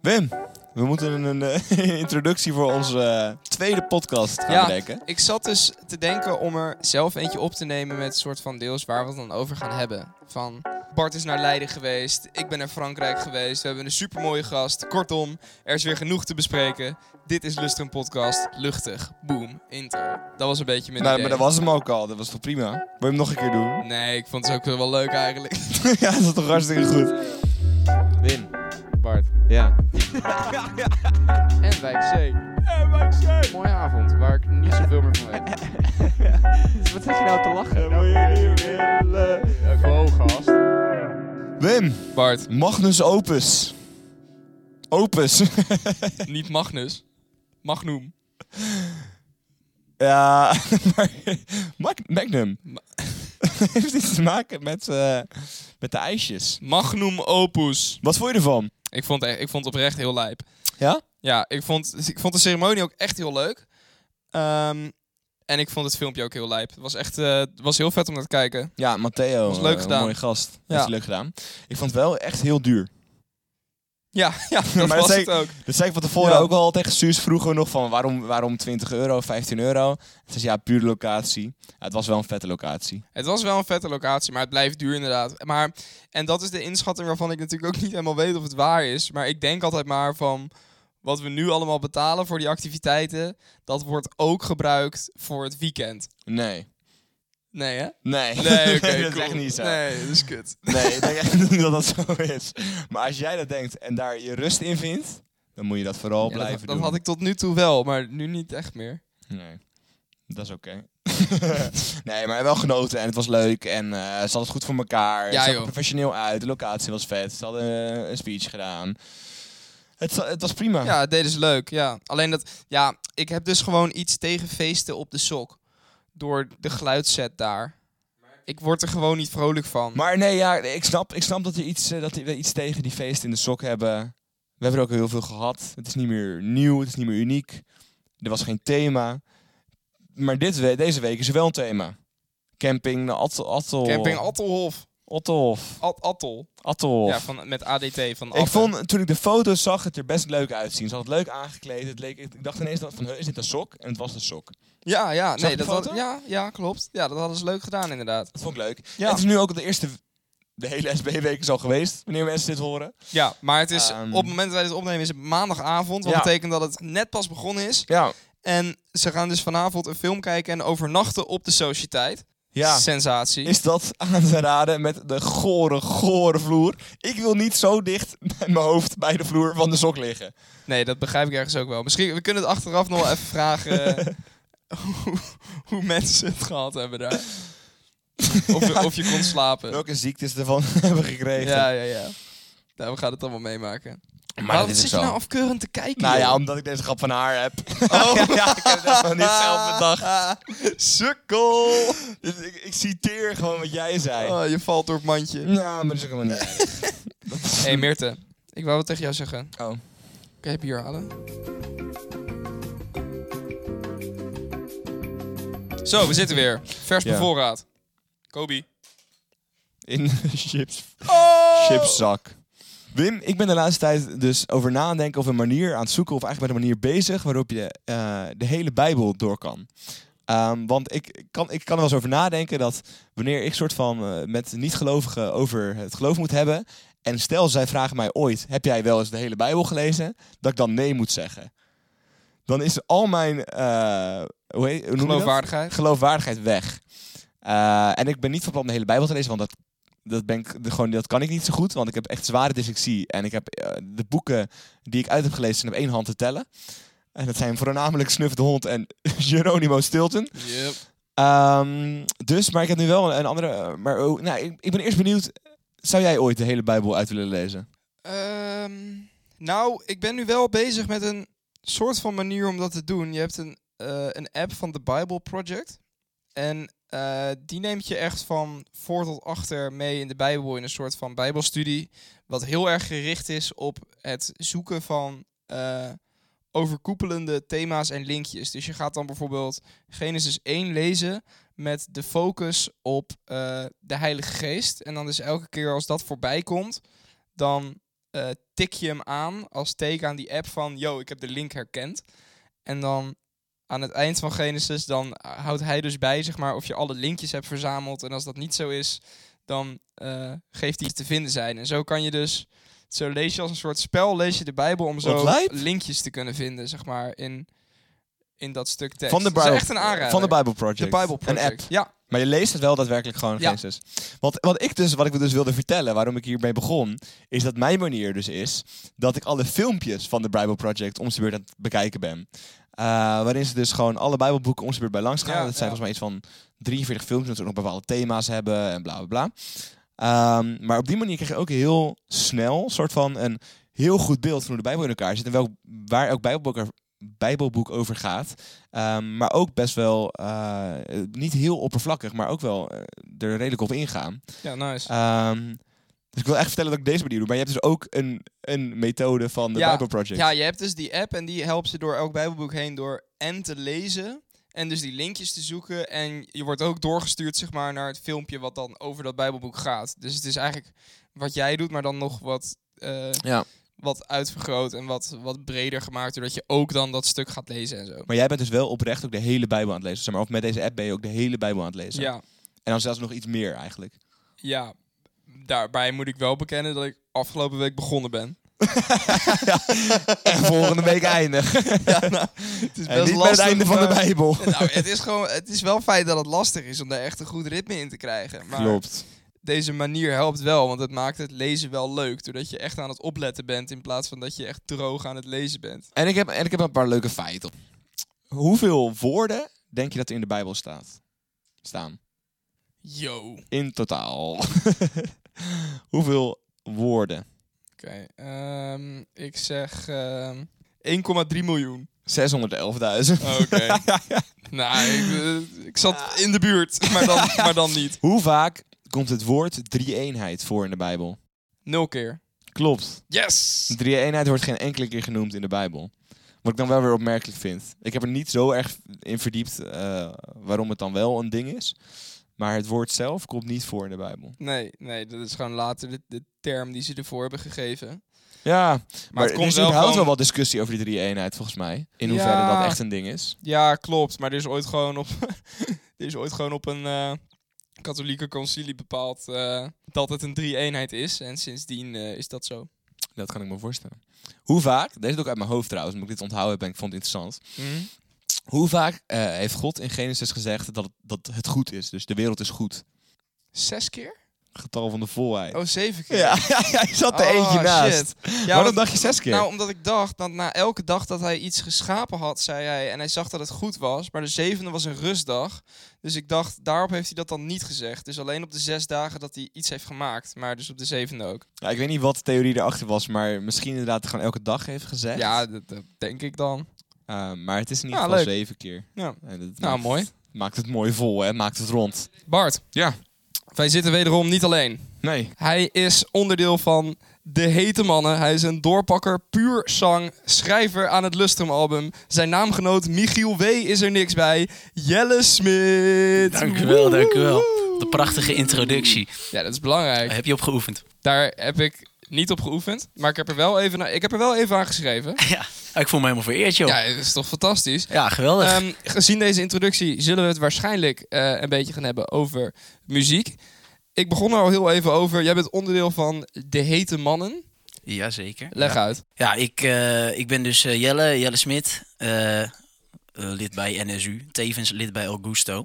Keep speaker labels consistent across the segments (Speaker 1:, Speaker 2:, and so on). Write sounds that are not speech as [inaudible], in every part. Speaker 1: Wim, we moeten een eh, [laughs] introductie voor onze eh, tweede podcast gaan
Speaker 2: Ja.
Speaker 1: bedenken.
Speaker 2: Ik zat dus te denken om er zelf eentje op te nemen met een soort van deels waar we het dan over gaan hebben. Van Bart is naar Leiden geweest, ik ben naar Frankrijk geweest, we hebben een supermooie gast. Kortom, er is weer genoeg te bespreken. Dit is Lustrum Podcast, luchtig, boom, intro. Dat was een beetje mijn
Speaker 1: Nou,
Speaker 2: idee.
Speaker 1: maar dat was hem ook al. Dat was toch prima? Wil je hem nog een keer doen?
Speaker 2: Nee, ik vond het ook wel leuk eigenlijk.
Speaker 1: [laughs] ja, dat is toch hartstikke goed.
Speaker 3: Win.
Speaker 2: Bart.
Speaker 3: Ja.
Speaker 2: En Wijk C. Mooie avond, waar ik niet zoveel meer
Speaker 1: [laughs]
Speaker 2: van weet. Dus
Speaker 3: Wat zit je nou te lachen?
Speaker 2: Wow, gast.
Speaker 1: Wim,
Speaker 2: Bart,
Speaker 1: Magnus Opus. Opus. [laughs]
Speaker 2: niet Magnus. Magnum.
Speaker 1: ja, [laughs] maar Mag- Magnum. [laughs] Heeft iets te maken met, eh, met de ijsjes.
Speaker 2: Magnum opus.
Speaker 1: Wat vond je ervan?
Speaker 2: Ik vond, echt- ik vond het oprecht heel lijp.
Speaker 1: Ja?
Speaker 2: Ja, ik vond, ik vond de ceremonie ook echt heel leuk. Ehm, en ik vond het filmpje ook heel lijp. Het was echt eh, het was heel vet om naar te kijken.
Speaker 1: Ja, Matteo.
Speaker 2: Was leuk
Speaker 1: eh,
Speaker 2: gedaan.
Speaker 1: Mooie gast.
Speaker 2: Ja.
Speaker 1: Heeft leuk gedaan. Ik vond het wel echt heel duur.
Speaker 2: Ja, [laughs] ja dat
Speaker 1: Maar
Speaker 2: was
Speaker 1: dat
Speaker 2: het ook.
Speaker 1: Dat zei ik van tevoren
Speaker 2: Ja.
Speaker 1: ook al tegen Suus. Vroegen we nog van waarom, waarom 20 euro, 15 euro. Het is ja, puur locatie. Ja, het was wel een vette locatie.
Speaker 2: Het was wel een vette locatie, maar het blijft duur inderdaad. Maar, en dat is de inschatting waarvan ik natuurlijk ook [laughs] niet helemaal weet of het waar is. Maar ik denk altijd maar van wat we nu allemaal betalen voor die activiteiten, dat wordt ook gebruikt voor het weekend.
Speaker 1: Nee.
Speaker 2: Nee, hè?
Speaker 1: Nee.
Speaker 2: [laughs] Nee, oké.
Speaker 1: [laughs] dat
Speaker 2: cool.
Speaker 1: is echt niet zo. Nee.
Speaker 2: Nee, dat is kut.
Speaker 1: ik denk echt [laughs] niet dat dat zo is. Maar als jij dat denkt en daar je rust in vindt, dan moet je dat vooral
Speaker 2: Ja,
Speaker 1: blijven
Speaker 2: dat,
Speaker 1: doen.
Speaker 2: dat had ik tot nu toe wel, maar nu niet echt meer.
Speaker 1: Nee. Dat is oké. [laughs] nee, maar wel genoten en het was leuk en eh, ze hadden het goed voor elkaar.
Speaker 2: Ja,
Speaker 1: ze zag er
Speaker 2: joh.
Speaker 1: professioneel uit, de locatie was vet. Ze hadden eh, een speech gedaan. Het, za- het was prima.
Speaker 2: Ja, dit is leuk, ja. Alleen dat, ja, ik heb dus gewoon iets tegen feesten op de sok. Door de geluidset daar. Ik word er gewoon niet vrolijk van.
Speaker 1: Mm. Maar nee, ja, ik snap, ik snap dat, er iets, eh, dat we iets tegen die feesten in de sok hebben. We hebben er ook heel veel gehad. Het is niet meer nieuw, het is niet meer uniek. Er was geen thema. Maar dit, we- deze week is er wel een thema. Camping naar Attel. Attel
Speaker 2: Camping Attelhof.
Speaker 1: Ottelhof.
Speaker 2: At Attel.
Speaker 1: Attelhof.
Speaker 2: Ja, van, met ADT van Atten.
Speaker 1: ik vond, toen ik de foto's zag, het er best leuk uitzien. Ze had het leuk aangekleed. Het leek, ik dacht ineens, dat van, "Huh, is dit een sok? En het was een sok.
Speaker 2: Ja, ja,
Speaker 1: Zag
Speaker 2: nee,
Speaker 1: je de
Speaker 2: dat had-
Speaker 1: foto?
Speaker 2: ja, ja, klopt. Ja, dat hadden ze leuk gedaan inderdaad.
Speaker 1: Dat vond ik leuk.
Speaker 2: Ja.
Speaker 1: Het is nu ook de eerste... De hele SB-week is al geweest, wanneer mensen dit horen.
Speaker 2: Ja, maar het is,
Speaker 1: Ehm.
Speaker 2: op het moment dat wij dit opnemen is het maandagavond. Wat
Speaker 1: Ja.
Speaker 2: betekent dat het net pas begonnen is.
Speaker 1: Ja.
Speaker 2: En ze gaan dus vanavond een film kijken en overnachten op de sociëteit.
Speaker 1: Ja.
Speaker 2: Sensatie.
Speaker 1: is dat aan te raden met de gore, gore vloer. Ik wil niet zo dicht met mijn hoofd bij de vloer van de sok liggen.
Speaker 2: Nee, dat begrijp ik ergens ook wel. Misschien, we kunnen het achteraf nog wel even
Speaker 1: [laughs]
Speaker 2: vragen eh, hoe, hoe mensen het gehad hebben daar.
Speaker 1: [laughs]
Speaker 2: Of, je- of je kon slapen.
Speaker 1: Welke ziektes ervan [laughs] hebben gekregen.
Speaker 2: Ja, ja, ja. Nou, we gaan het allemaal meemaken.
Speaker 1: maar
Speaker 2: Waarom zit je nou afkeurend te kijken?
Speaker 1: Nou ja,
Speaker 2: joh?
Speaker 1: omdat ik deze grap van haar heb.
Speaker 2: Oh.
Speaker 1: [laughs] ja, ik heb het echt nog niet zelf bedacht.
Speaker 2: [laughs] Sukkel!
Speaker 1: Dus ik, ik citeer gewoon wat jij zei.
Speaker 2: Oh, je valt door het mandje.
Speaker 1: Nou, maar dat is ook helemaal niet erg. Dat is-
Speaker 2: Hé hey, Meerte, ik wou wat tegen jou zeggen.
Speaker 1: Oh.
Speaker 2: Kan je bier halen? Zo, we zitten weer. Vers
Speaker 1: Ja.
Speaker 2: bevoorraad. Kobe.
Speaker 1: In de chips,
Speaker 2: Oh!
Speaker 1: chipszak. Wim, ik ben de laatste tijd dus over nadenken of een manier aan het zoeken... of eigenlijk met een manier bezig waarop je eh, de hele Bijbel door kan. Ehm, want ik ik kan, ik kan er wel eens over nadenken dat wanneer ik soort van eh, met niet-gelovigen over het geloof moet hebben... en stel zij vragen mij ooit, heb jij wel eens de hele Bijbel gelezen? Dat ik dan nee moet zeggen. Dan is al mijn... eh hoe heet, hoe noem je dat?
Speaker 2: Geloofwaardigheid.
Speaker 1: geloofwaardigheid weg. Eh, en ik ben niet van plan om de hele Bijbel te lezen, want dat, dat, ben ik, de- gewoon, dat kan ik niet zo goed. Want ik heb echt zware dyslexie. En ik heb eh, de boeken die ik uit heb gelezen zijn op één hand te tellen. En dat zijn voornamelijk Snuff de Hond en [laughs] Geronimo Stilton.
Speaker 2: Yep.
Speaker 1: Ehm, dus, maar ik heb nu wel een, een andere... eh, Maar oh, nou, ik, ik ben eerst benieuwd, zou jij ooit de hele Bijbel uit willen lezen?
Speaker 2: Ehm, nou, ik ben nu wel bezig met een soort van manier om dat te doen. Je hebt een, eh, een app van The Bible Project. En eh, die neemt je echt van voor tot achter mee in de Bijbel. In een soort van Bijbelstudie. Wat heel erg gericht is op het zoeken van eh, overkoepelende thema's en linkjes. Dus je gaat dan bijvoorbeeld Genesis 1 lezen. Met de focus op eh, de Heilige Geest. En dan dus elke keer als dat voorbij komt. Dan eh, tik je hem aan als teken aan die app van... Yo, ik heb de link herkend. En dan aan het eind van Genesis, dan houdt hij dus bij, zeg maar, of je alle linkjes hebt verzameld. En als dat niet zo is, dan eh, geeft hij iets te vinden zijn. En zo kan je dus... Zo lees je als een soort spel, lees je de Bijbel om
Speaker 1: Wat
Speaker 2: zo
Speaker 1: lijp.
Speaker 2: linkjes te kunnen vinden, zeg maar, in, in dat stuk tekst.
Speaker 1: Van de
Speaker 2: Dat
Speaker 1: Bijbel-
Speaker 2: is echt een aanrader.
Speaker 1: Van de Bible
Speaker 2: De
Speaker 1: Project.
Speaker 2: Bible
Speaker 1: Een app.
Speaker 2: Project. Ja,
Speaker 1: Maar je leest het wel daadwerkelijk gewoon,
Speaker 2: Ja.
Speaker 1: Genesis. Want wat ik dus, wat ik dus wilde vertellen, waarom ik hiermee begon, is dat mijn manier dus is dat ik alle filmpjes van de Bible Project om zijn beurt aan het bekijken ben. Eh, waarin ze dus gewoon alle Bijbelboeken om zijn beurt bij langs gaan.
Speaker 2: Ja,
Speaker 1: dat zijn
Speaker 2: ja.
Speaker 1: volgens mij iets van 43 films, dat ze ook nog bepaalde thema's hebben en bla bla bla. Ehm, maar op die manier krijg je ook heel snel soort van een heel goed beeld van hoe de Bijbel in elkaar zit en welk, waar elk Bijbelboek, er- Bijbelboek over gaat. Ehm, maar ook best wel, eh, niet heel oppervlakkig, maar ook wel eh, er redelijk op ingaan.
Speaker 2: ja nice.
Speaker 1: Ehm, dus ik wil echt vertellen dat ik deze manier doe. Maar je hebt dus ook een, een methode van de
Speaker 2: Ja,
Speaker 1: Bible Project.
Speaker 2: Ja, je hebt dus die app en die helpt ze door elk Bijbelboek heen door en te lezen en dus die linkjes te zoeken. En je wordt ook doorgestuurd zeg maar, naar het filmpje wat dan over dat Bijbelboek gaat. Dus het is eigenlijk wat jij doet, maar dan nog wat, eh,
Speaker 1: Ja.
Speaker 2: wat uitvergroot en wat, wat breder gemaakt. Doordat je ook dan dat stuk gaat lezen en zo.
Speaker 1: Maar jij bent dus wel oprecht ook de hele Bijbel aan het lezen. Zeg maar, of met deze app ben je ook de hele Bijbel aan het lezen.
Speaker 2: Ja,
Speaker 1: En dan zelfs nog iets meer eigenlijk. [laughs]
Speaker 2: ja, daarbij moet ik wel bekennen dat ik afgelopen week begonnen ben. [laughs]
Speaker 1: En volgende week [laughs] eindig.
Speaker 2: Het is
Speaker 1: en niet met het einde van de [laughs] Bijbel.
Speaker 2: [laughs] Nou, het is gewoon, het is wel fijn dat het lastig is om daar echt een goed ritme in te krijgen. Maar
Speaker 1: Klopt.
Speaker 2: deze manier helpt wel, want het maakt het lezen wel leuk. Doordat je echt aan het opletten bent in plaats van dat je echt droog aan het lezen bent.
Speaker 1: En ik, heb, en ik heb een paar leuke feiten. Hoeveel woorden denk je dat er in de Bijbel staat? Staan.
Speaker 2: Yo. Oké,
Speaker 1: In totaal. [laughs] Hoeveel woorden?
Speaker 2: ehm, ik zeg ehm, 1,3 miljoen.
Speaker 1: 611.000.
Speaker 2: Oké. [laughs] nou, ik, eh, ik zat in de buurt, [laughs] maar dan, maar dan niet.
Speaker 1: Hoe vaak komt het woord drie-eenheid voor in de Bijbel?
Speaker 2: Nul keer.
Speaker 1: Klopt.
Speaker 2: Yes!
Speaker 1: Drie-eenheid wordt geen enkele keer genoemd in de Bijbel. Wat ik dan wel weer opmerkelijk vind. Ik heb er niet zo erg in verdiept eh, waarom het dan wel een ding is. Maar het woord zelf komt niet voor in de Bijbel.
Speaker 2: Nee, nee, dat is gewoon later de, de term die ze ervoor hebben gegeven.
Speaker 1: Ja, maar,
Speaker 2: Maar,
Speaker 1: er is überhaupt wel wat discussie over die drie-eenheid volgens mij. In
Speaker 2: Ja.
Speaker 1: hoeverre dat echt een ding is.
Speaker 2: Ja, klopt. Maar er is ooit gewoon op, [laughs] er is ooit gewoon op een eh, katholieke concilie bepaald eh, dat het een drie-eenheid is. En sindsdien eh, is dat zo.
Speaker 1: Dat kan ik me voorstellen. Hoe vaak, deze doe ik uit mijn hoofd trouwens, omdat ik dit onthouden heb en ik vond het interessant. Hoe vaak eh, heeft God in Genesis gezegd dat het, dat het goed is? Dus de wereld is goed.
Speaker 2: Zes keer?
Speaker 1: Getal van de volheid.
Speaker 2: Oh, zeven keer.
Speaker 1: Ja, [laughs] hij zat er
Speaker 2: Oh,
Speaker 1: eentje naast.
Speaker 2: shit. Ja,
Speaker 1: Waarom
Speaker 2: dat-
Speaker 1: dacht je zes keer?
Speaker 2: Nou, omdat ik dacht dat na elke dag dat hij iets geschapen had, zei hij. En hij zag dat het goed was. Maar de zevende was een rustdag. Dus ik dacht, daarop heeft hij dat dan niet gezegd. Dus alleen op de zes dagen dat hij iets heeft gemaakt. Maar dus op de zevende ook.
Speaker 1: Ja, ik weet niet wat de theorie erachter was, maar misschien inderdaad gewoon elke dag heeft gezegd.
Speaker 2: Ja, dat, dat denk ik dan.
Speaker 1: Eh, maar het is in ieder
Speaker 2: Ja,
Speaker 1: geval
Speaker 2: leuk.
Speaker 1: zeven keer.
Speaker 2: Ja.
Speaker 1: En dat
Speaker 2: Nou,
Speaker 1: maakt,
Speaker 2: mooi.
Speaker 1: Maakt het mooi vol, hè? Maakt het rond.
Speaker 2: Bart.
Speaker 1: Ja.
Speaker 2: Wij zitten wederom niet alleen.
Speaker 1: Nee.
Speaker 2: Hij is onderdeel van De Hete Mannen. Hij is een doorpakker, puur zang, schrijver aan het Lustrum-album. Zijn naamgenoot Michiel W. is er niks bij. Jelle Smit.
Speaker 4: Dank u wel, dank u wel. De prachtige introductie.
Speaker 2: Ja, dat is belangrijk.
Speaker 4: Heb je opgeoefend?
Speaker 2: Daar heb ik niet op geoefend, maar ik heb er wel even, na- ik heb er wel even aan geschreven.
Speaker 4: Ja, Ah, ik voel me helemaal vereerd, joh.
Speaker 2: Ja, dat is toch fantastisch.
Speaker 4: Ja, geweldig.
Speaker 2: Ehm, [laughs] gezien deze introductie zullen we het waarschijnlijk eh, een beetje gaan hebben over muziek. Ik begon er al heel even over. Jij bent onderdeel van De Hete Mannen.
Speaker 4: Jazeker.
Speaker 2: Leg
Speaker 4: ja.
Speaker 2: uit.
Speaker 4: Ja, ik, eh, ik ben dus eh, Jelle, Jelle Smit. eh, eh, lid bij NSU. Tevens lid bij Augusto.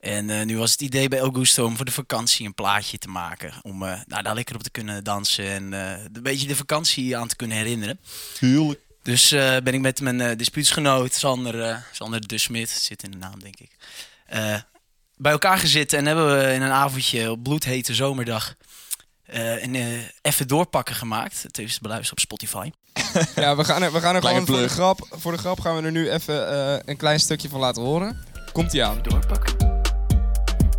Speaker 4: En eh, nu was het idee bij Augusto om voor de vakantie een plaatje te maken. Om eh, nou, daar lekker op te kunnen dansen en eh, een beetje de vakantie aan te kunnen herinneren.
Speaker 1: Tuurlijk.
Speaker 4: Dus eh, ben ik met mijn eh, dispuutsgenoot Sander, eh, Sander de Smit, zit in de naam denk ik, eh, bij elkaar gezeten en hebben we in een avondje op bloedhete zomerdag eh, een eh, even doorpakken gemaakt. Het is te beluisteren op Spotify.
Speaker 2: Ja, we gaan er, we gaan
Speaker 1: Kleine
Speaker 2: er
Speaker 4: [laughs]
Speaker 2: gewoon voor de,
Speaker 1: plug.
Speaker 2: grap, voor de grap gaan we er nu even eh, een klein stukje van laten horen. Komt ie aan.
Speaker 5: doorpakken.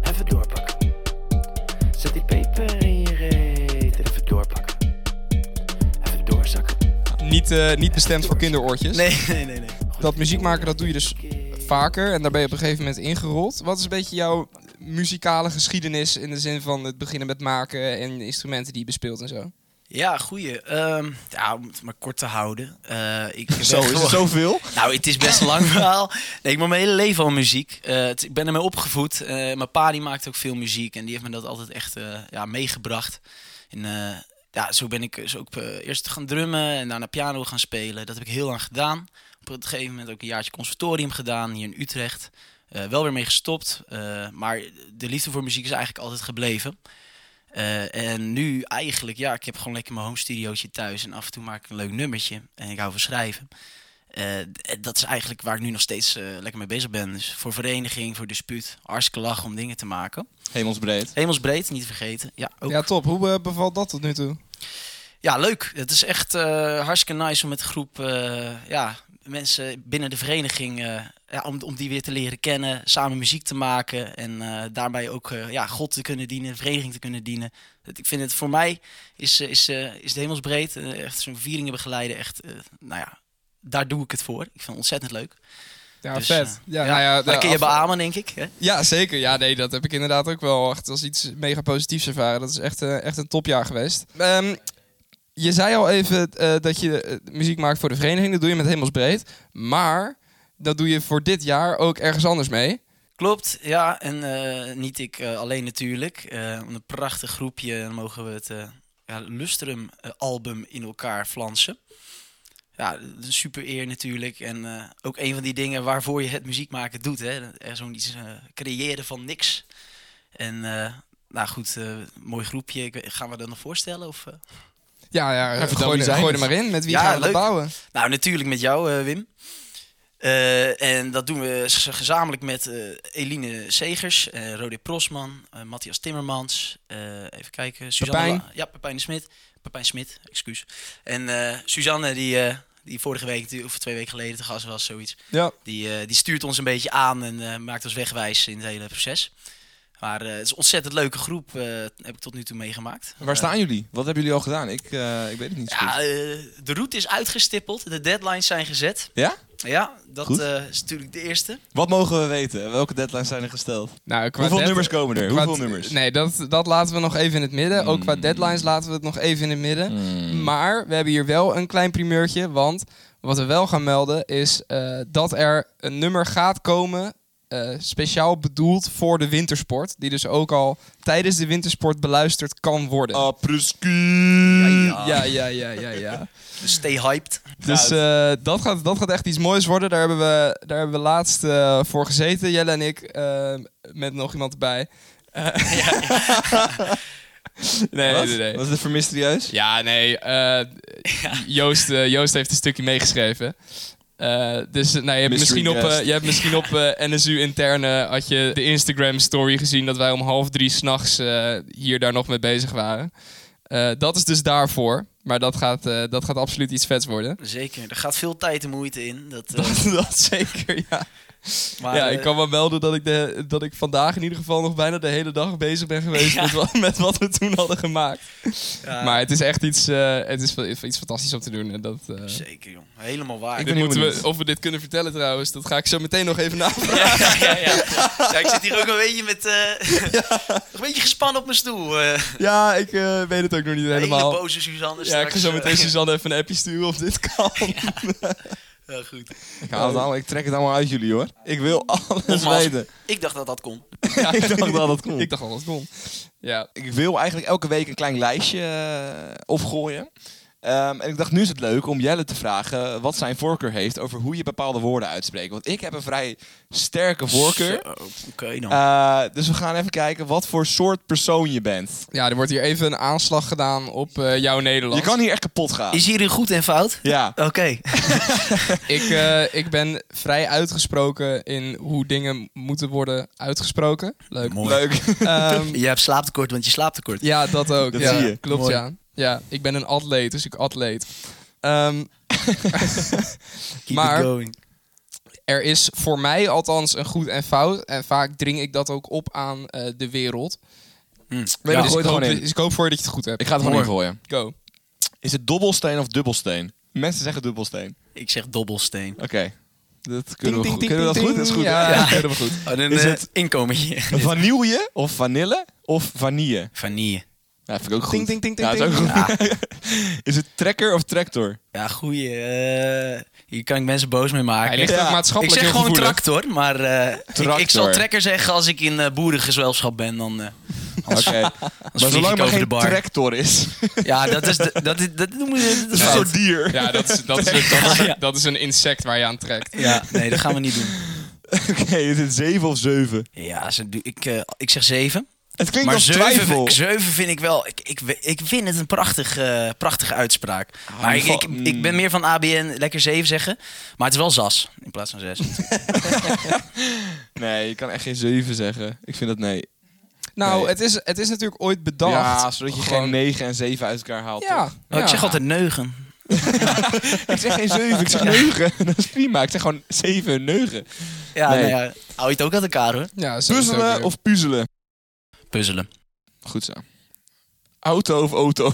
Speaker 5: Even doorpakken. Zet die peper in je reet. Even doorpakken. Even doorzakken.
Speaker 2: Niet, eh, niet bestemd voor kinderoortjes.
Speaker 4: Nee, [laughs] nee, nee. nee.
Speaker 2: Dat muziek maken, dat doe je dus vaker en daar ben je op een gegeven moment ingerold. Wat is een beetje jouw muzikale geschiedenis in de zin van het beginnen met maken en instrumenten die je bespeelt en zo?
Speaker 4: Ja, goeie. Ehm, ja, om het maar kort te houden. Eh, ik
Speaker 1: [laughs]
Speaker 4: ben
Speaker 1: Zo, is
Speaker 4: gewoon-
Speaker 1: het zoveel?
Speaker 4: Nou, het is best een lang verhaal. Nee, ik maak mijn hele leven al muziek. Eh, het- ik ben ermee opgevoed. Eh, mijn pa die maakt ook veel muziek en die heeft me dat altijd echt eh, ja, meegebracht. En eh, ja, zo ben ik dus ook eh, eerst gaan drummen en daarna piano gaan spelen. Dat heb ik heel lang gedaan. Op een gegeven moment ook een jaartje conservatorium gedaan hier in Utrecht. Eh, wel weer mee gestopt, eh, maar de liefde voor muziek is eigenlijk altijd gebleven. Eh, en nu eigenlijk, ja, ik heb gewoon lekker mijn home studiootje thuis en af en toe maak ik een leuk nummertje en ik hou van schrijven. Eh, d- dat is eigenlijk waar ik nu nog steeds eh, lekker mee bezig ben. Dus voor vereniging, voor dispuut, hartstikke lach om dingen te maken.
Speaker 1: Hemelsbreed.
Speaker 4: Hemelsbreed, niet vergeten. Ja, ook.
Speaker 2: Ja, top. Hoe eh, bevalt dat tot nu toe?
Speaker 4: Ja, leuk. Het is echt eh, hartstikke nice om met een groep eh, ja, mensen binnen de vereniging... eh, ja, om, om die weer te leren kennen, samen muziek te maken... en eh, daarbij ook eh, ja, God te kunnen dienen, de vereniging te kunnen dienen. Het- ik vind het voor mij is, eh, is, eh, is de hemelsbreed, eh, echt zo'n vieringen begeleiden... echt, eh, nou ja, daar doe ik het voor. Ik vind het ontzettend leuk.
Speaker 2: Ja,
Speaker 4: Dus,
Speaker 2: vet.
Speaker 4: eh,
Speaker 2: ja, nou ja,
Speaker 4: dat
Speaker 2: de
Speaker 4: kun je
Speaker 2: af-
Speaker 4: beamen, denk ik. Hè?
Speaker 2: Ja, zeker. Ja, nee, dat heb ik inderdaad ook wel echt als iets mega positiefs ervaren. Dat is echt, eh, echt een topjaar geweest. Ehm, je zei al even eh, dat je eh, muziek maakt voor de vereniging. Dat doe je met Hemelsbreed. Maar dat doe je voor dit jaar ook ergens anders mee.
Speaker 4: Klopt, ja. En eh, niet ik eh, alleen natuurlijk. Eh, een prachtig groepje. Dan mogen we het eh, ja, Lustrum-album in elkaar flansen. Ja, dat is een super eer natuurlijk. En eh, ook een van die dingen waarvoor je het muziek maken doet. Hè? Dat Er zo'n iets eh, creëren van niks. En eh, nou goed, eh, mooi groepje. Ik weet- gaan we dat nog voorstellen? Of, eh?
Speaker 2: Ja, ja,
Speaker 1: vertel,
Speaker 2: gooi,
Speaker 1: wie
Speaker 2: er-
Speaker 1: zijn
Speaker 2: gooi er
Speaker 1: het?
Speaker 2: maar in. Met wie
Speaker 4: Ja,
Speaker 2: gaan we dat
Speaker 4: leuk.
Speaker 2: bouwen?
Speaker 4: Nou, natuurlijk met jou, eh, Wim. Eh, en dat doen we s- gezamenlijk met eh, Eline Segers, eh Rode Prosman, eh, Matthias Timmermans. eh, even kijken. Suzanne
Speaker 2: Pepijn.
Speaker 4: La- ja, Pepijn de Smit. Pepijn Smit, excuus. En eh, Suzanne, die, eh, die vorige week, natuurlijk- of twee weken geleden te gast was, zoiets.
Speaker 2: Ja.
Speaker 4: Die, eh, die stuurt ons een beetje aan en eh, maakt ons wegwijs in het hele proces. Maar eh, het is een ontzettend leuke groep, eh, heb ik tot nu toe meegemaakt.
Speaker 1: Waar
Speaker 4: Eh,
Speaker 1: staan jullie? Wat hebben jullie al gedaan? Ik, eh, ik weet het niet zo goed.
Speaker 4: ja, eh, de route is uitgestippeld, de deadlines zijn gezet.
Speaker 1: Ja?
Speaker 4: Ja, dat
Speaker 1: Goed.
Speaker 4: eh, is natuurlijk de eerste.
Speaker 1: Wat mogen we weten? Welke deadlines zijn er gesteld?
Speaker 2: Nou, qua
Speaker 1: Hoeveel
Speaker 2: dead-
Speaker 1: nummers komen er?
Speaker 2: qua-
Speaker 1: Hoeveel nummers?
Speaker 2: Nee, dat, dat laten we nog even in het midden. Ook qua
Speaker 1: Mm.
Speaker 2: deadlines laten we het nog even in het midden.
Speaker 1: Hmm.
Speaker 2: Maar we hebben hier wel een klein primeurtje. Want wat we wel gaan melden is eh, dat er een nummer gaat komen. eh, speciaal bedoeld voor de wintersport. Die dus ook al tijdens de wintersport beluisterd kan worden.
Speaker 1: Eh, Oh. Apres-ski.
Speaker 4: Ja,
Speaker 2: Ja, ja, ja, ja, ja.
Speaker 4: Dus stay hyped.
Speaker 2: Dus eh, dat, gaat, dat gaat echt iets moois worden. Daar hebben we, daar hebben we laatst eh, voor gezeten, Jelle en ik, eh, met nog iemand erbij.
Speaker 1: [laughs]
Speaker 2: Eh, [laughs] nee,
Speaker 1: Wat?
Speaker 2: nee, nee.
Speaker 1: Was het voor mysterieus?
Speaker 2: Ja, nee. eh, Joost, eh, Joost heeft een stukje meegeschreven. Eh, dus eh, nou, je, hebt
Speaker 1: Mystery
Speaker 2: misschien op, eh,
Speaker 1: guest.
Speaker 2: je hebt misschien op eh, NSU interne had je de Instagram story gezien dat wij om half drie s'nachts eh hier daar nog mee bezig waren. Eh, dat is dus daarvoor. Maar dat gaat, eh, dat gaat absoluut iets vets worden.
Speaker 4: Zeker, er gaat veel tijd en moeite in. Dat,
Speaker 2: [laughs]
Speaker 4: eh,
Speaker 2: Dat, dat zeker, ja.
Speaker 4: maar,
Speaker 2: ja,
Speaker 4: eh,
Speaker 2: ik kan wel melden dat ik, de, dat ik vandaag in ieder geval nog bijna de hele dag bezig ben geweest
Speaker 4: Ja.
Speaker 2: met, wat, met wat we toen hadden gemaakt.
Speaker 4: ja,
Speaker 2: Maar het is echt iets, eh, het is fa- iets fantastisch om te doen. En dat, eh,
Speaker 4: Zeker, joh. Helemaal waar.
Speaker 1: Ik
Speaker 2: Dit
Speaker 1: ben heel
Speaker 2: moeten we,
Speaker 1: benieuwd.
Speaker 2: of we dit kunnen vertellen trouwens, dat ga ik zo meteen nog even navragen.
Speaker 4: [laughs] ja, ja, ja, ja. Ja, ik zit hier ook een beetje met... eh, een beetje gespannen op mijn stoel. eh
Speaker 2: Ja, ik eh, weet het ook nog niet
Speaker 4: Hele
Speaker 2: helemaal.
Speaker 4: boze Suzanne eh.
Speaker 2: Ja, ik ga zo meteen
Speaker 4: Suzanne.
Speaker 2: Suzanne even een appje sturen of dit kan.
Speaker 4: goed.
Speaker 1: Ik, haal het allemaal, ik trek het allemaal uit jullie hoor. Ik wil alles
Speaker 4: Nogmaals.
Speaker 1: weten.
Speaker 4: Ik dacht dat dat kon.
Speaker 2: Ja,
Speaker 1: [laughs] Ik dacht wel dat kon.
Speaker 2: [laughs] Ik dacht al dat kon. Ja.
Speaker 1: Ik wil eigenlijk elke week een klein lijstje eh, opgooien. Ehm, en ik dacht, nu is het leuk om Jelle te vragen wat zijn voorkeur heeft over hoe je bepaalde woorden uitspreekt. Want ik heb een vrij sterke voorkeur.
Speaker 4: Zo, Oké dan.
Speaker 2: Ah.
Speaker 1: Eh, dus we gaan even kijken wat voor soort persoon je bent.
Speaker 2: ja, er wordt hier even een aanslag gedaan op eh, jouw Nederland.
Speaker 1: Je kan hier echt kapot gaan.
Speaker 4: is hier een goed en fout?
Speaker 1: Ja.
Speaker 4: Oké.
Speaker 2: ik, eh, ik ben vrij uitgesproken in hoe dingen moeten worden uitgesproken. Leuk.
Speaker 4: Mooi.
Speaker 1: Leuk.
Speaker 2: Ehm,
Speaker 4: Je hebt slaaptekort, want je slaapt tekort.
Speaker 2: ja, dat ook.
Speaker 1: Dat
Speaker 2: ja,
Speaker 1: zie je.
Speaker 2: Klopt,
Speaker 4: Mooi.
Speaker 2: ja. Ja, ik ben een atleet, dus ik atleet. Ehm,
Speaker 4: Keep
Speaker 2: maar-
Speaker 4: it going.
Speaker 2: er is voor mij althans een goed en fout. En vaak dring ik dat ook op aan eh, de wereld.
Speaker 4: Hm.
Speaker 1: Maar
Speaker 2: Ja,
Speaker 1: dan
Speaker 2: dus,
Speaker 1: gooi
Speaker 2: ik
Speaker 1: het
Speaker 2: hoop,
Speaker 1: gewoon
Speaker 2: dat-
Speaker 1: in.
Speaker 2: dus ik hoop voor je dat je het goed hebt.
Speaker 1: Ik ga het gewoon
Speaker 4: Mooi.
Speaker 1: ingooien.
Speaker 2: Go.
Speaker 1: Is het dobbelsteen of dubbelsteen? Mensen zeggen dubbelsteen.
Speaker 4: Ik zeg dobbelsteen.
Speaker 1: Oké. Dat kunnen we
Speaker 2: Ting,
Speaker 1: goed.
Speaker 2: ting,
Speaker 1: Kunnen we dat
Speaker 2: ting,
Speaker 1: goed? Dat is goed.
Speaker 2: ting.
Speaker 1: hè?
Speaker 2: Ja,
Speaker 4: Ja.
Speaker 2: dat kunnen we goed.
Speaker 4: Oh, dan,
Speaker 1: Is
Speaker 4: eh,
Speaker 1: het-
Speaker 4: inkometje.
Speaker 1: Vanille of vanille of vanille?
Speaker 4: Vanille.
Speaker 1: Ja, vind ik ook goed.
Speaker 2: Ting, ting, ting,
Speaker 1: ja,
Speaker 2: ting,
Speaker 1: is, ook
Speaker 2: ting.
Speaker 1: goed. [laughs] is het trekker of [laughs] tractor?
Speaker 4: Ja, goeie. eh, hier kan ik mensen boos mee maken.
Speaker 2: Hij ligt ook
Speaker 1: Ja.
Speaker 4: ik
Speaker 2: maatschappelijk
Speaker 4: zeg
Speaker 2: heel
Speaker 4: gewoon
Speaker 2: gevoelig.
Speaker 4: tractor, maar eh, ik- Ik,
Speaker 1: Tractor.
Speaker 4: zal trekker zeggen als ik in eh, boerengezelschap ben. Dan, eh
Speaker 1: Oké.
Speaker 4: dan
Speaker 1: Maar
Speaker 4: vlieg
Speaker 1: zolang
Speaker 4: ik
Speaker 1: er
Speaker 4: over de
Speaker 1: geen
Speaker 4: bar.
Speaker 1: tractor [laughs] is,
Speaker 4: Ja, dat is, de- dat is, dat noemen ze dat
Speaker 1: is
Speaker 4: is
Speaker 1: een
Speaker 2: Ja,
Speaker 4: fout.
Speaker 1: soort dier.
Speaker 2: Ja, dat is, dat, is een, dat,
Speaker 4: [laughs] Ja.
Speaker 2: is, dat is een insect waar je aan trekt.
Speaker 4: Ja, nee, dat gaan we niet doen.
Speaker 1: [laughs] Oké, is het zeven of zeven?
Speaker 4: Ja, ze, doe- ik, eh, ik zeg zeven.
Speaker 1: Het klinkt
Speaker 4: maar
Speaker 1: als
Speaker 4: zeven,
Speaker 1: twijfel.
Speaker 4: zeven vind ik wel... Ik, ik, we- ik vind het een prachtige, eh, prachtige uitspraak. maar
Speaker 1: Ah, in
Speaker 4: ik,
Speaker 1: ieder
Speaker 4: ik,
Speaker 1: geval-
Speaker 4: ik ben meer van ABN lekker zeven zeggen. Maar het is wel zas in plaats van
Speaker 1: [laughs]
Speaker 4: zes. Oh,
Speaker 1: Nee, je kan echt geen zeven zeggen. Ik vind dat nee.
Speaker 2: Nou,
Speaker 1: Nee.
Speaker 2: het, is, het is natuurlijk ooit bedacht.
Speaker 1: Ja, zodat je
Speaker 2: Gewoon-
Speaker 1: geen 9 en 7 uit elkaar haalt.
Speaker 2: Ja,
Speaker 1: toch? [laughs]
Speaker 4: Oh,
Speaker 2: ja.
Speaker 4: Ik zeg altijd neugen.
Speaker 1: Ik zeg geen 7, ik zeg 9. [laughs] Dat is prima. Ik zeg gewoon 7 en 9.
Speaker 4: Ja,
Speaker 1: Nee.
Speaker 4: nee. ja, hou je het ook uit elkaar hoor.
Speaker 2: Ja, zo is het ook
Speaker 1: Puzzelen
Speaker 2: weer.
Speaker 1: of puzzelen?
Speaker 4: Puzzelen.
Speaker 1: Goed zo. Auto of auto?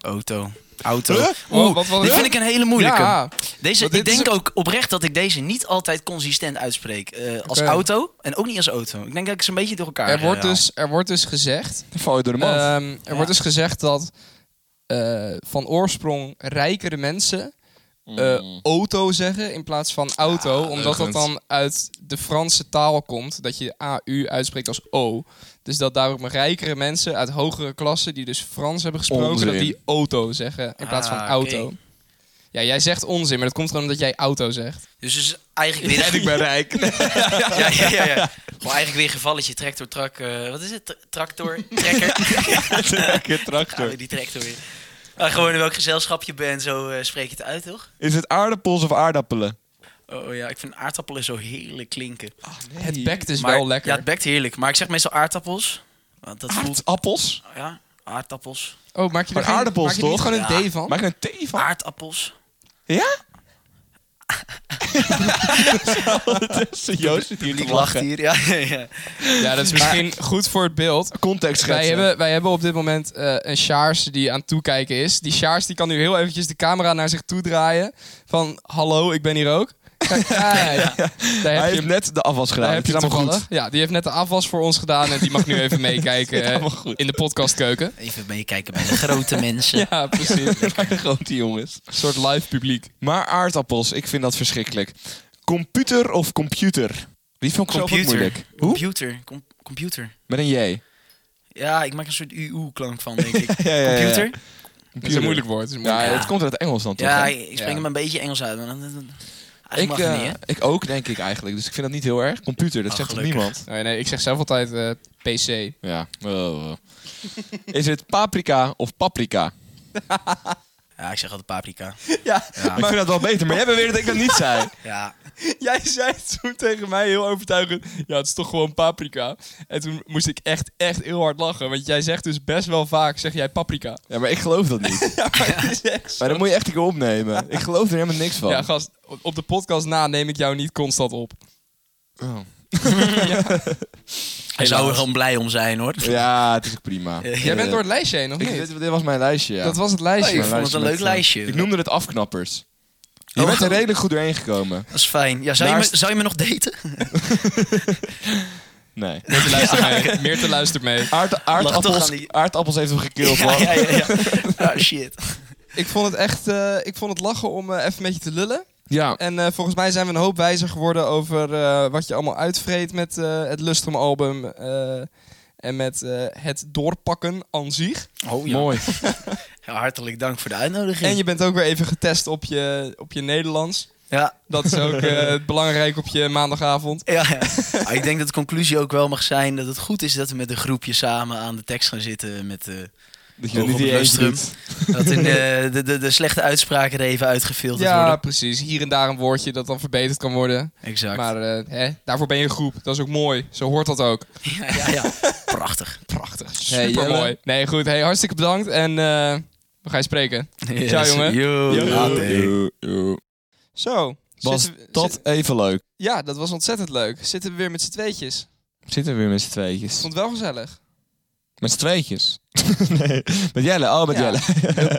Speaker 4: Auto. Auto.
Speaker 1: Huh?
Speaker 2: Oh,
Speaker 4: Oeh,
Speaker 2: wat- wat-
Speaker 4: dit vind ik een hele moeilijke.
Speaker 2: Ja,
Speaker 4: Deze,
Speaker 2: Want
Speaker 4: ik
Speaker 2: dit is
Speaker 4: denk ook oprecht dat ik deze niet altijd consistent uitspreek. eh, als
Speaker 2: Oké.
Speaker 4: auto en ook niet als auto. Ik denk dat ik ze een beetje door elkaar eh,
Speaker 2: er wordt,
Speaker 4: herhaal.
Speaker 2: dus, er wordt dus gezegd...
Speaker 1: [laughs] Dan val je door de mand.
Speaker 2: ehm, er
Speaker 4: Ja.
Speaker 2: wordt dus gezegd dat eh, van oorsprong rijkere mensen eh,
Speaker 1: [laughs]
Speaker 2: auto zeggen in plaats van auto.
Speaker 1: Ah,
Speaker 2: omdat dat
Speaker 1: leugens.
Speaker 2: dan uit de Franse taal komt. Dat je AU uitspreekt als O. Dus dat daarom rijkere mensen uit hogere klassen, die dus Frans hebben gesproken,
Speaker 1: Onzin.
Speaker 2: dat die auto zeggen in plaats
Speaker 4: Ah,
Speaker 2: van
Speaker 4: oké.
Speaker 2: auto. Ja, jij zegt onzin, maar dat komt gewoon omdat jij auto zegt.
Speaker 4: Dus het is eigenlijk weer...
Speaker 1: ben
Speaker 4: [laughs]
Speaker 1: rijk.
Speaker 4: ja, ja, ja, ja, Gewoon eigenlijk weer gevalletje tractor, trak... eh, wat is het? Tra- Tractor, trekker.
Speaker 1: Trekker,
Speaker 4: Gaan
Speaker 1: tractor.
Speaker 4: we die tractor weer. Ah, gewoon in welk gezelschap je bent, zo eh, spreek je het uit, toch?
Speaker 1: Is het aardappels of aardappelen?
Speaker 4: Oh oh, ja, ik vind aardappelen zo heerlijk klinken.
Speaker 2: Het bekt is
Speaker 4: Maar-
Speaker 2: wel lekker.
Speaker 4: Ja, het bekt heerlijk. Maar ik zeg meestal aardappels. Want dat voelt...
Speaker 1: Aardappels?
Speaker 4: Ja, aardappels.
Speaker 2: Oh, maak je er
Speaker 1: Maar
Speaker 2: geen-
Speaker 1: aardappels,
Speaker 2: maak je er niet
Speaker 1: toch?
Speaker 2: gewoon een
Speaker 4: Ja.
Speaker 2: D van?
Speaker 1: Maak er een thee
Speaker 2: Ah.
Speaker 1: van.
Speaker 4: Aardappels.
Speaker 2: [laughs]
Speaker 1: Ja? Ondertussen, Joost zit hier te
Speaker 4: Ik lach
Speaker 1: lachen.
Speaker 4: hier. Ja, ja, ja.
Speaker 2: Ja, dat is misschien goed voor het beeld.
Speaker 1: Context
Speaker 2: Wij
Speaker 1: schetsen.
Speaker 2: hebben, wij hebben op dit moment eh, een Sjaars die aan het toekijken is. Die Sjaars die kan nu heel eventjes de camera naar zich toe draaien. Van, hallo, ik ben hier ook.
Speaker 1: [laughs]
Speaker 2: Kijk, ah, ja. Daar
Speaker 1: Hij
Speaker 2: heb je
Speaker 1: heeft
Speaker 2: hem.
Speaker 1: net de afwas gedaan.
Speaker 2: Daar
Speaker 1: Het
Speaker 2: heb je
Speaker 1: is
Speaker 2: hem
Speaker 1: allemaal
Speaker 2: toevallig.
Speaker 1: goed.
Speaker 2: Ja, die heeft net de afwas voor ons gedaan en die mag nu
Speaker 1: [laughs]
Speaker 2: even meekijken eh, in de podcastkeuken.
Speaker 4: Even meekijken bij de [laughs] grote mensen.
Speaker 1: [laughs]
Speaker 2: Ja, precies.
Speaker 1: Grote jongens.
Speaker 2: Een soort live publiek.
Speaker 1: Maar aardappels, ik vind dat verschrikkelijk. Computer of computer? Die vond ik zelf ook
Speaker 4: Computer.
Speaker 1: moeilijk. Hoe?
Speaker 4: Computer. Com- computer.
Speaker 1: Met een J. Ja,
Speaker 4: Ja, ik maak een soort u-u-klank van, denk ik.
Speaker 1: ja, ja, ja.
Speaker 4: Computer?
Speaker 2: Dat is een moeilijk woord. dat is een
Speaker 1: Ja,
Speaker 2: moeilijk
Speaker 1: het komt uit het Engels dan toch?
Speaker 4: Ja,
Speaker 1: hè?
Speaker 4: ik ik spreek
Speaker 2: Ja.
Speaker 4: hem een beetje Engels uit. Maar dat, dat- dat-
Speaker 1: ik,
Speaker 4: eigenlijk mag
Speaker 1: eh,
Speaker 4: het niet,
Speaker 1: ik ook, denk ik eigenlijk. Dus ik vind dat niet heel erg. Computer, dat
Speaker 4: Ah,
Speaker 1: zegt toch
Speaker 4: gelukkig.
Speaker 1: niemand?
Speaker 2: woord. Nee, nee, ik zeg zelf altijd eh, PC.
Speaker 1: Ja. Oh, [laughs] Is het paprika of paprika?
Speaker 4: hè? Ja, ik zeg altijd paprika.
Speaker 2: [laughs] Ja,
Speaker 4: Ja,
Speaker 1: ik vind dat wel beter, maar jij beweert dat ik dat niet
Speaker 4: [laughs]
Speaker 1: zei.
Speaker 4: ja.
Speaker 2: Jij zei toen tegen mij heel overtuigend: Ja, het is toch gewoon paprika. En toen moest ik echt, echt heel hard lachen. Want jij zegt dus best wel vaak: zeg jij paprika.
Speaker 1: Ja, maar ik geloof dat niet.
Speaker 2: [laughs] Ja, maar het is echt zo.
Speaker 1: Maar dan moet je echt een keer opnemen. Ik geloof er helemaal niks van.
Speaker 2: Ja, gast, op- op de podcast na neem ik jou niet constant op.
Speaker 1: Oh.
Speaker 4: Hij zou er gewoon blij om zijn, hoor.
Speaker 1: ja, het is ook prima. Eh,
Speaker 2: Jij bent door het lijstje heen, nog
Speaker 1: Ik,
Speaker 2: niet?
Speaker 1: dit, dit was mijn lijstje, ja.
Speaker 2: Dat was het lijstje.
Speaker 4: ik
Speaker 1: Mijn
Speaker 4: vond het een
Speaker 1: met,
Speaker 4: leuk
Speaker 1: eh,
Speaker 4: lijstje.
Speaker 1: Ik noemde het afknappers. Je
Speaker 4: Oh.
Speaker 1: bent er redelijk goed doorheen gekomen.
Speaker 4: Dat is fijn. Ja, zou, je me,
Speaker 1: Naast-
Speaker 4: zou je me nog daten? [laughs]
Speaker 1: Nee.
Speaker 2: Meerte luistert [laughs] mee. Meerte luistert mee.
Speaker 1: Aard,
Speaker 4: toch
Speaker 1: aardappels,
Speaker 4: aan die-
Speaker 1: aardappels heeft hem gekild.
Speaker 4: [laughs] ja,
Speaker 1: man.
Speaker 4: ja, ja. ja. Ah, shit.
Speaker 2: Ik vond het echt eh, ik vond het lachen om eh, even met je te lullen.
Speaker 1: Ja.
Speaker 2: En eh, volgens mij zijn we een hoop wijzer geworden over eh, wat je allemaal uitvreet met eh, het Lustrum album. eh, en met eh, het doorpakken aan zich.
Speaker 4: Oh, ja.
Speaker 1: Mooi.
Speaker 4: Ja, hartelijk dank voor de uitnodiging.
Speaker 2: En je bent ook weer even getest op je, op je Nederlands.
Speaker 4: Ja,
Speaker 2: Dat is ook eh,
Speaker 1: [laughs]
Speaker 2: belangrijk op je maandagavond.
Speaker 4: ja,
Speaker 2: [laughs]
Speaker 4: ja. Ah, ik denk dat de conclusie ook wel mag zijn dat het goed is dat we met een groepje samen aan de tekst gaan zitten. Met, eh,
Speaker 1: Dat
Speaker 4: Oog op
Speaker 1: in je
Speaker 4: het
Speaker 1: eentje
Speaker 4: lustrum.
Speaker 1: doet.
Speaker 4: dat in,
Speaker 2: [laughs]
Speaker 4: eh, de, de, de slechte uitspraken er even uitgefilterd
Speaker 2: Ja,
Speaker 4: worden.
Speaker 2: precies. Hier en daar een woordje dat dan verbeterd kan worden.
Speaker 4: Exact.
Speaker 2: Maar eh, hè, daarvoor ben je een groep. Dat is ook mooi. Zo hoort dat ook.
Speaker 4: Ja, ja, ja. Prachtig.
Speaker 2: Prachtig.
Speaker 1: Hey,
Speaker 2: Supermooi.
Speaker 1: Jelle.
Speaker 2: nee, goed. Hey, hartstikke bedankt. En eh, we gaan je spreken. Ciao, jongen.
Speaker 4: Yo.
Speaker 1: Yo,
Speaker 4: Later.
Speaker 1: yo, yo.
Speaker 2: Zo.
Speaker 1: Was
Speaker 2: zitten we-
Speaker 1: dat
Speaker 2: zit-
Speaker 1: even leuk?
Speaker 2: ja, dat was ontzettend leuk. Zitten we weer met z'n tweetjes.
Speaker 1: Zitten we weer met z'n tweetjes?
Speaker 2: vond het wel gezellig.
Speaker 1: Met z'n tweetjes? [laughs] nee, met Jelle. Oh, met
Speaker 2: Ja.
Speaker 1: Jelle.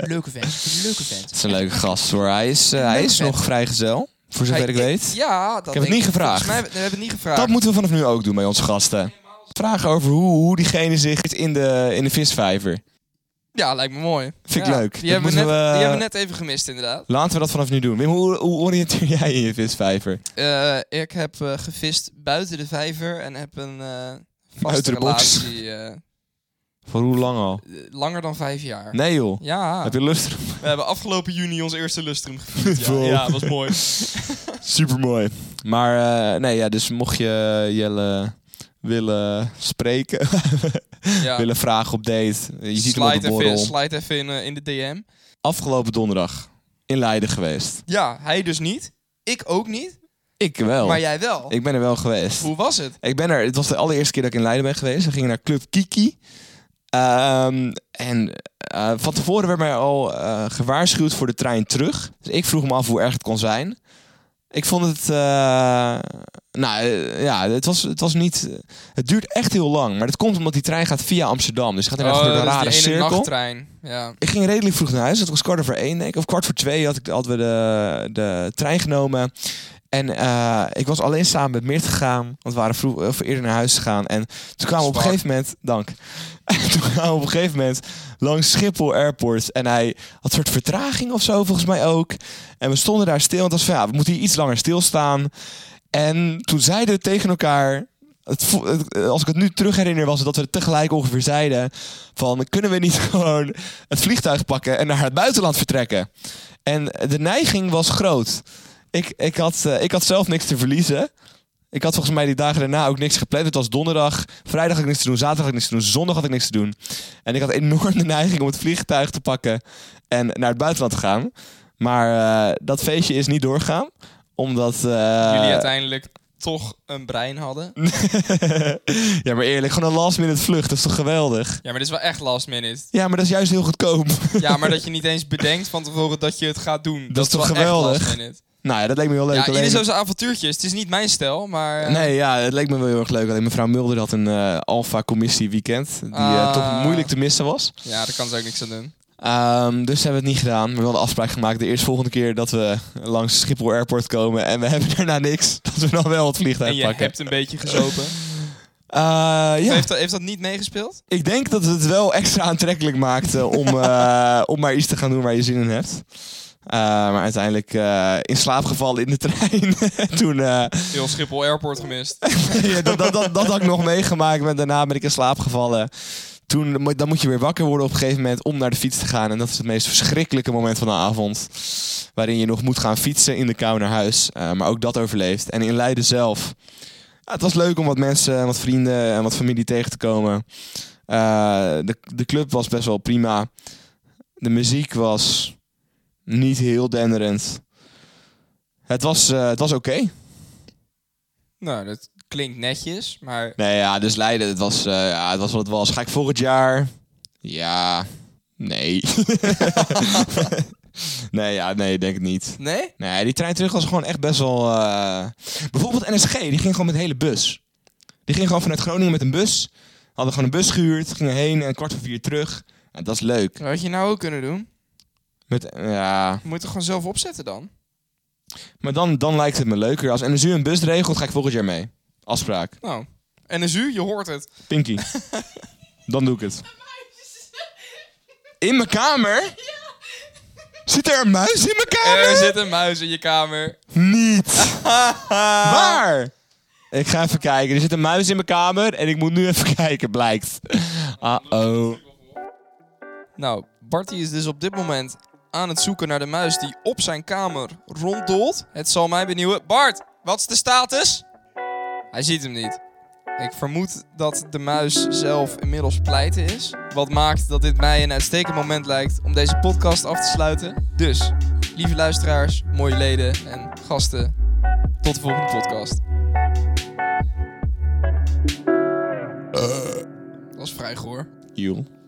Speaker 2: leuke vent. Leuke vent.
Speaker 1: [laughs] Dat is een leuke gast hoor. Hij is, eh, hij
Speaker 2: Leuke
Speaker 1: is
Speaker 2: vent.
Speaker 1: nog vrijgezel, voor zover
Speaker 2: Hij-
Speaker 1: ik weet.
Speaker 2: Ja, dat
Speaker 1: heb het
Speaker 2: denk
Speaker 1: niet gevraagd.
Speaker 2: Volgens mij, nee, we hebben het niet gevraagd.
Speaker 1: Dat moeten we vanaf nu ook doen bij onze gasten. vragen over hoe, hoe diegene zich in de, in de visvijver.
Speaker 2: Ja, lijkt me mooi.
Speaker 1: Vind ik
Speaker 2: Ja,
Speaker 1: leuk. Dat
Speaker 2: Die hebben, we net,
Speaker 1: moeten we-
Speaker 2: die hebben we net even gemist, inderdaad.
Speaker 1: Laten we dat vanaf nu doen. Wim, hoe, hoe oriënteer jij in je visvijver?
Speaker 2: Eh, ik heb eh, gevist buiten de vijver en heb een eh vaste
Speaker 1: Buiten de box.
Speaker 2: relatie. eh,
Speaker 1: Voor hoe lang al?
Speaker 2: langer dan vijf jaar.
Speaker 1: Nee joh.
Speaker 2: Ja,
Speaker 1: Heb je lust erop?
Speaker 2: we hebben afgelopen juni ons eerste
Speaker 1: [laughs]
Speaker 2: lustrum gevierd. Ja,
Speaker 1: Wow.
Speaker 2: ja, dat was mooi.
Speaker 1: Supermooi. Maar eh, nee, ja, dus mocht je Jelle willen spreken,
Speaker 2: Ja.
Speaker 1: willen vragen op date, je ziet hem op
Speaker 2: Slide
Speaker 1: de
Speaker 2: even, in-
Speaker 1: borrel.
Speaker 2: slide even in, eh, in de DM.
Speaker 1: Afgelopen donderdag in Leiden geweest.
Speaker 2: Ja, hij dus niet. Ik ook niet.
Speaker 1: Ik wel.
Speaker 2: Maar jij wel.
Speaker 1: Oh. Ik ben er wel geweest.
Speaker 2: Hoe was het?
Speaker 1: Ik ben er, het was de allereerste keer dat ik in Leiden ben geweest. We gingen naar Club Kiki. Ehm, en eh, van tevoren werd mij al eh, gewaarschuwd voor de trein terug. Dus ik vroeg me af hoe erg het kon zijn. Ik vond het. eh, nou eh, ja, het was, het was niet. Het duurt echt heel lang. Maar dat komt omdat die trein gaat via Amsterdam. Dus je gaat
Speaker 2: Oh,
Speaker 1: inderdaad door
Speaker 2: dat
Speaker 1: een
Speaker 2: is
Speaker 1: rare
Speaker 2: die ene
Speaker 1: cirkel.
Speaker 2: nachttrein. Ja.
Speaker 1: Ik ging redelijk vroeg naar huis. Het was kwart over één, denk ik. Of kwart voor twee had ik hadden we de, de trein genomen. En eh, ik was alleen samen met Meert gegaan. Want we waren vroeg, of eerder naar huis gegaan. En toen kwamen we op een
Speaker 2: Zwak.
Speaker 1: gegeven moment... Dank. [laughs] En toen kwamen we op een gegeven moment langs Schiphol Airport. En hij had een soort vertraging of zo, volgens mij ook. En we stonden daar stil. En het was van, ja, we moeten hier iets langer stilstaan. En toen zeiden we tegen elkaar... Het, vo- het- eh, als ik het nu terug herinner, was het dat we het tegelijk ongeveer zeiden... van, kunnen we niet [laughs] gewoon het vliegtuig pakken en naar het buitenland vertrekken? En de neiging was groot. Ik, ik, had, eh, ik had zelf niks te verliezen. Ik had volgens mij die dagen daarna ook niks gepland. Het was donderdag. Vrijdag had ik niks te doen. Zaterdag had ik niks te doen. Zondag had ik niks te doen. En ik had enorm de neiging om het vliegtuig te pakken en naar het buitenland te gaan. Maar eh, dat feestje is niet doorgaan. Omdat. eh,
Speaker 2: Jullie uiteindelijk toch een brein hadden.
Speaker 1: [laughs] ja, maar eerlijk, gewoon een last minute vlucht. Dat is toch geweldig?
Speaker 2: Ja, maar dit is wel echt last minute.
Speaker 1: Ja, maar dat is juist heel goedkoop. [laughs]
Speaker 2: Ja, maar dat je niet eens bedenkt van tevoren dat je het gaat doen. Dat,
Speaker 1: is toch
Speaker 2: wel echt
Speaker 1: geweldig?
Speaker 2: last minute.
Speaker 1: nou ja, dat leek me heel leuk.
Speaker 2: ja, ieder
Speaker 1: Alleen-
Speaker 2: zo zijn avontuurtjes. Het is niet mijn stijl, maar... eh,
Speaker 1: Nee, ja, het leek me wel heel erg leuk. Alleen mevrouw Mulder had een eh alfa-commissie weekend. Die eh,
Speaker 2: Ah.
Speaker 1: toch moeilijk te missen was.
Speaker 2: Ja, daar kan ze ook niks aan doen.
Speaker 1: Ehm, dus hebben we het niet gedaan. We hadden afspraak gemaakt de eerste volgende keer dat we langs Schiphol Airport komen. En we [laughs] hebben daarna niks. Dat we dan wel het
Speaker 2: En
Speaker 1: vliegtuig
Speaker 2: je
Speaker 1: pakken.
Speaker 2: hebt een
Speaker 1: [laughs]
Speaker 2: beetje gezopen.
Speaker 1: Eh, ja,
Speaker 2: heeft, dat, heeft dat niet meegespeeld?
Speaker 1: ik denk dat het wel extra aantrekkelijk maakt eh,
Speaker 2: [laughs]
Speaker 1: om, eh, om maar iets te gaan doen waar je zin in hebt. Eh, maar uiteindelijk eh, in slaap gevallen in de trein. [laughs] Toen, eh,
Speaker 2: Heel Schiphol Airport gemist.
Speaker 1: [laughs] ja, dat, dat, dat, dat had ik nog meegemaakt. Maar daarna ben ik in slaap gevallen. Toen, mo- dan moet je weer wakker worden op een gegeven moment om naar de fiets te gaan. En dat is het meest verschrikkelijke moment van de avond. Waarin je nog moet gaan fietsen in de kou naar huis. Eh, maar ook dat overleeft. En in Leiden zelf. ja, het was leuk om wat mensen, en wat vrienden en wat familie tegen te komen. Eh, de, de club was best wel prima. De muziek was niet heel denderend. Het was, eh, het was oké.
Speaker 2: Nou, dat klinkt netjes, maar...
Speaker 1: Nee, ja, dus Leiden, het was, eh, ja, het was wat het was. Ga ik volgend jaar? Ja, nee. [laughs] nee, ja, nee, denk het niet.
Speaker 2: Nee?
Speaker 1: Nee, die trein terug was gewoon echt best wel... eh, Bijvoorbeeld NSG, die ging gewoon met de hele bus. Die ging gewoon vanuit Groningen met een bus. Hadden gewoon een bus gehuurd, gingen heen en kwart voor vier terug. Ja, dat is leuk.
Speaker 2: Dat had je nou ook kunnen doen.
Speaker 1: Met, ja,
Speaker 2: Je moet het gewoon zelf opzetten dan.
Speaker 1: maar dan, dan lijkt het me leuker. Als NSU een bus regelt, ga ik volgend jaar mee. Afspraak.
Speaker 2: Nou, NSU, je hoort het.
Speaker 1: Pinky. Dan doe ik het. In mijn kamer? Zit er een muis in mijn kamer?
Speaker 2: Er zit een muis in je kamer.
Speaker 1: [laughs] Niet. Waar? Ik ga even kijken. Er zit een muis in mijn kamer en ik moet nu even [laughs] kijken, blijkt. Ah, oh, Uh-oh.
Speaker 2: Nou, Barty is dus op dit moment aan het zoeken naar de muis die op zijn kamer ronddolt. Het zal mij benieuwen. Bart, wat is de status? Hij ziet hem niet. Ik vermoed dat de muis zelf inmiddels pleiten is. Wat maakt dat dit mij een uitstekend moment lijkt om deze podcast af te sluiten. Dus, lieve luisteraars, mooie leden en gasten, tot de volgende podcast. Dat was vrij goor.
Speaker 1: Joel.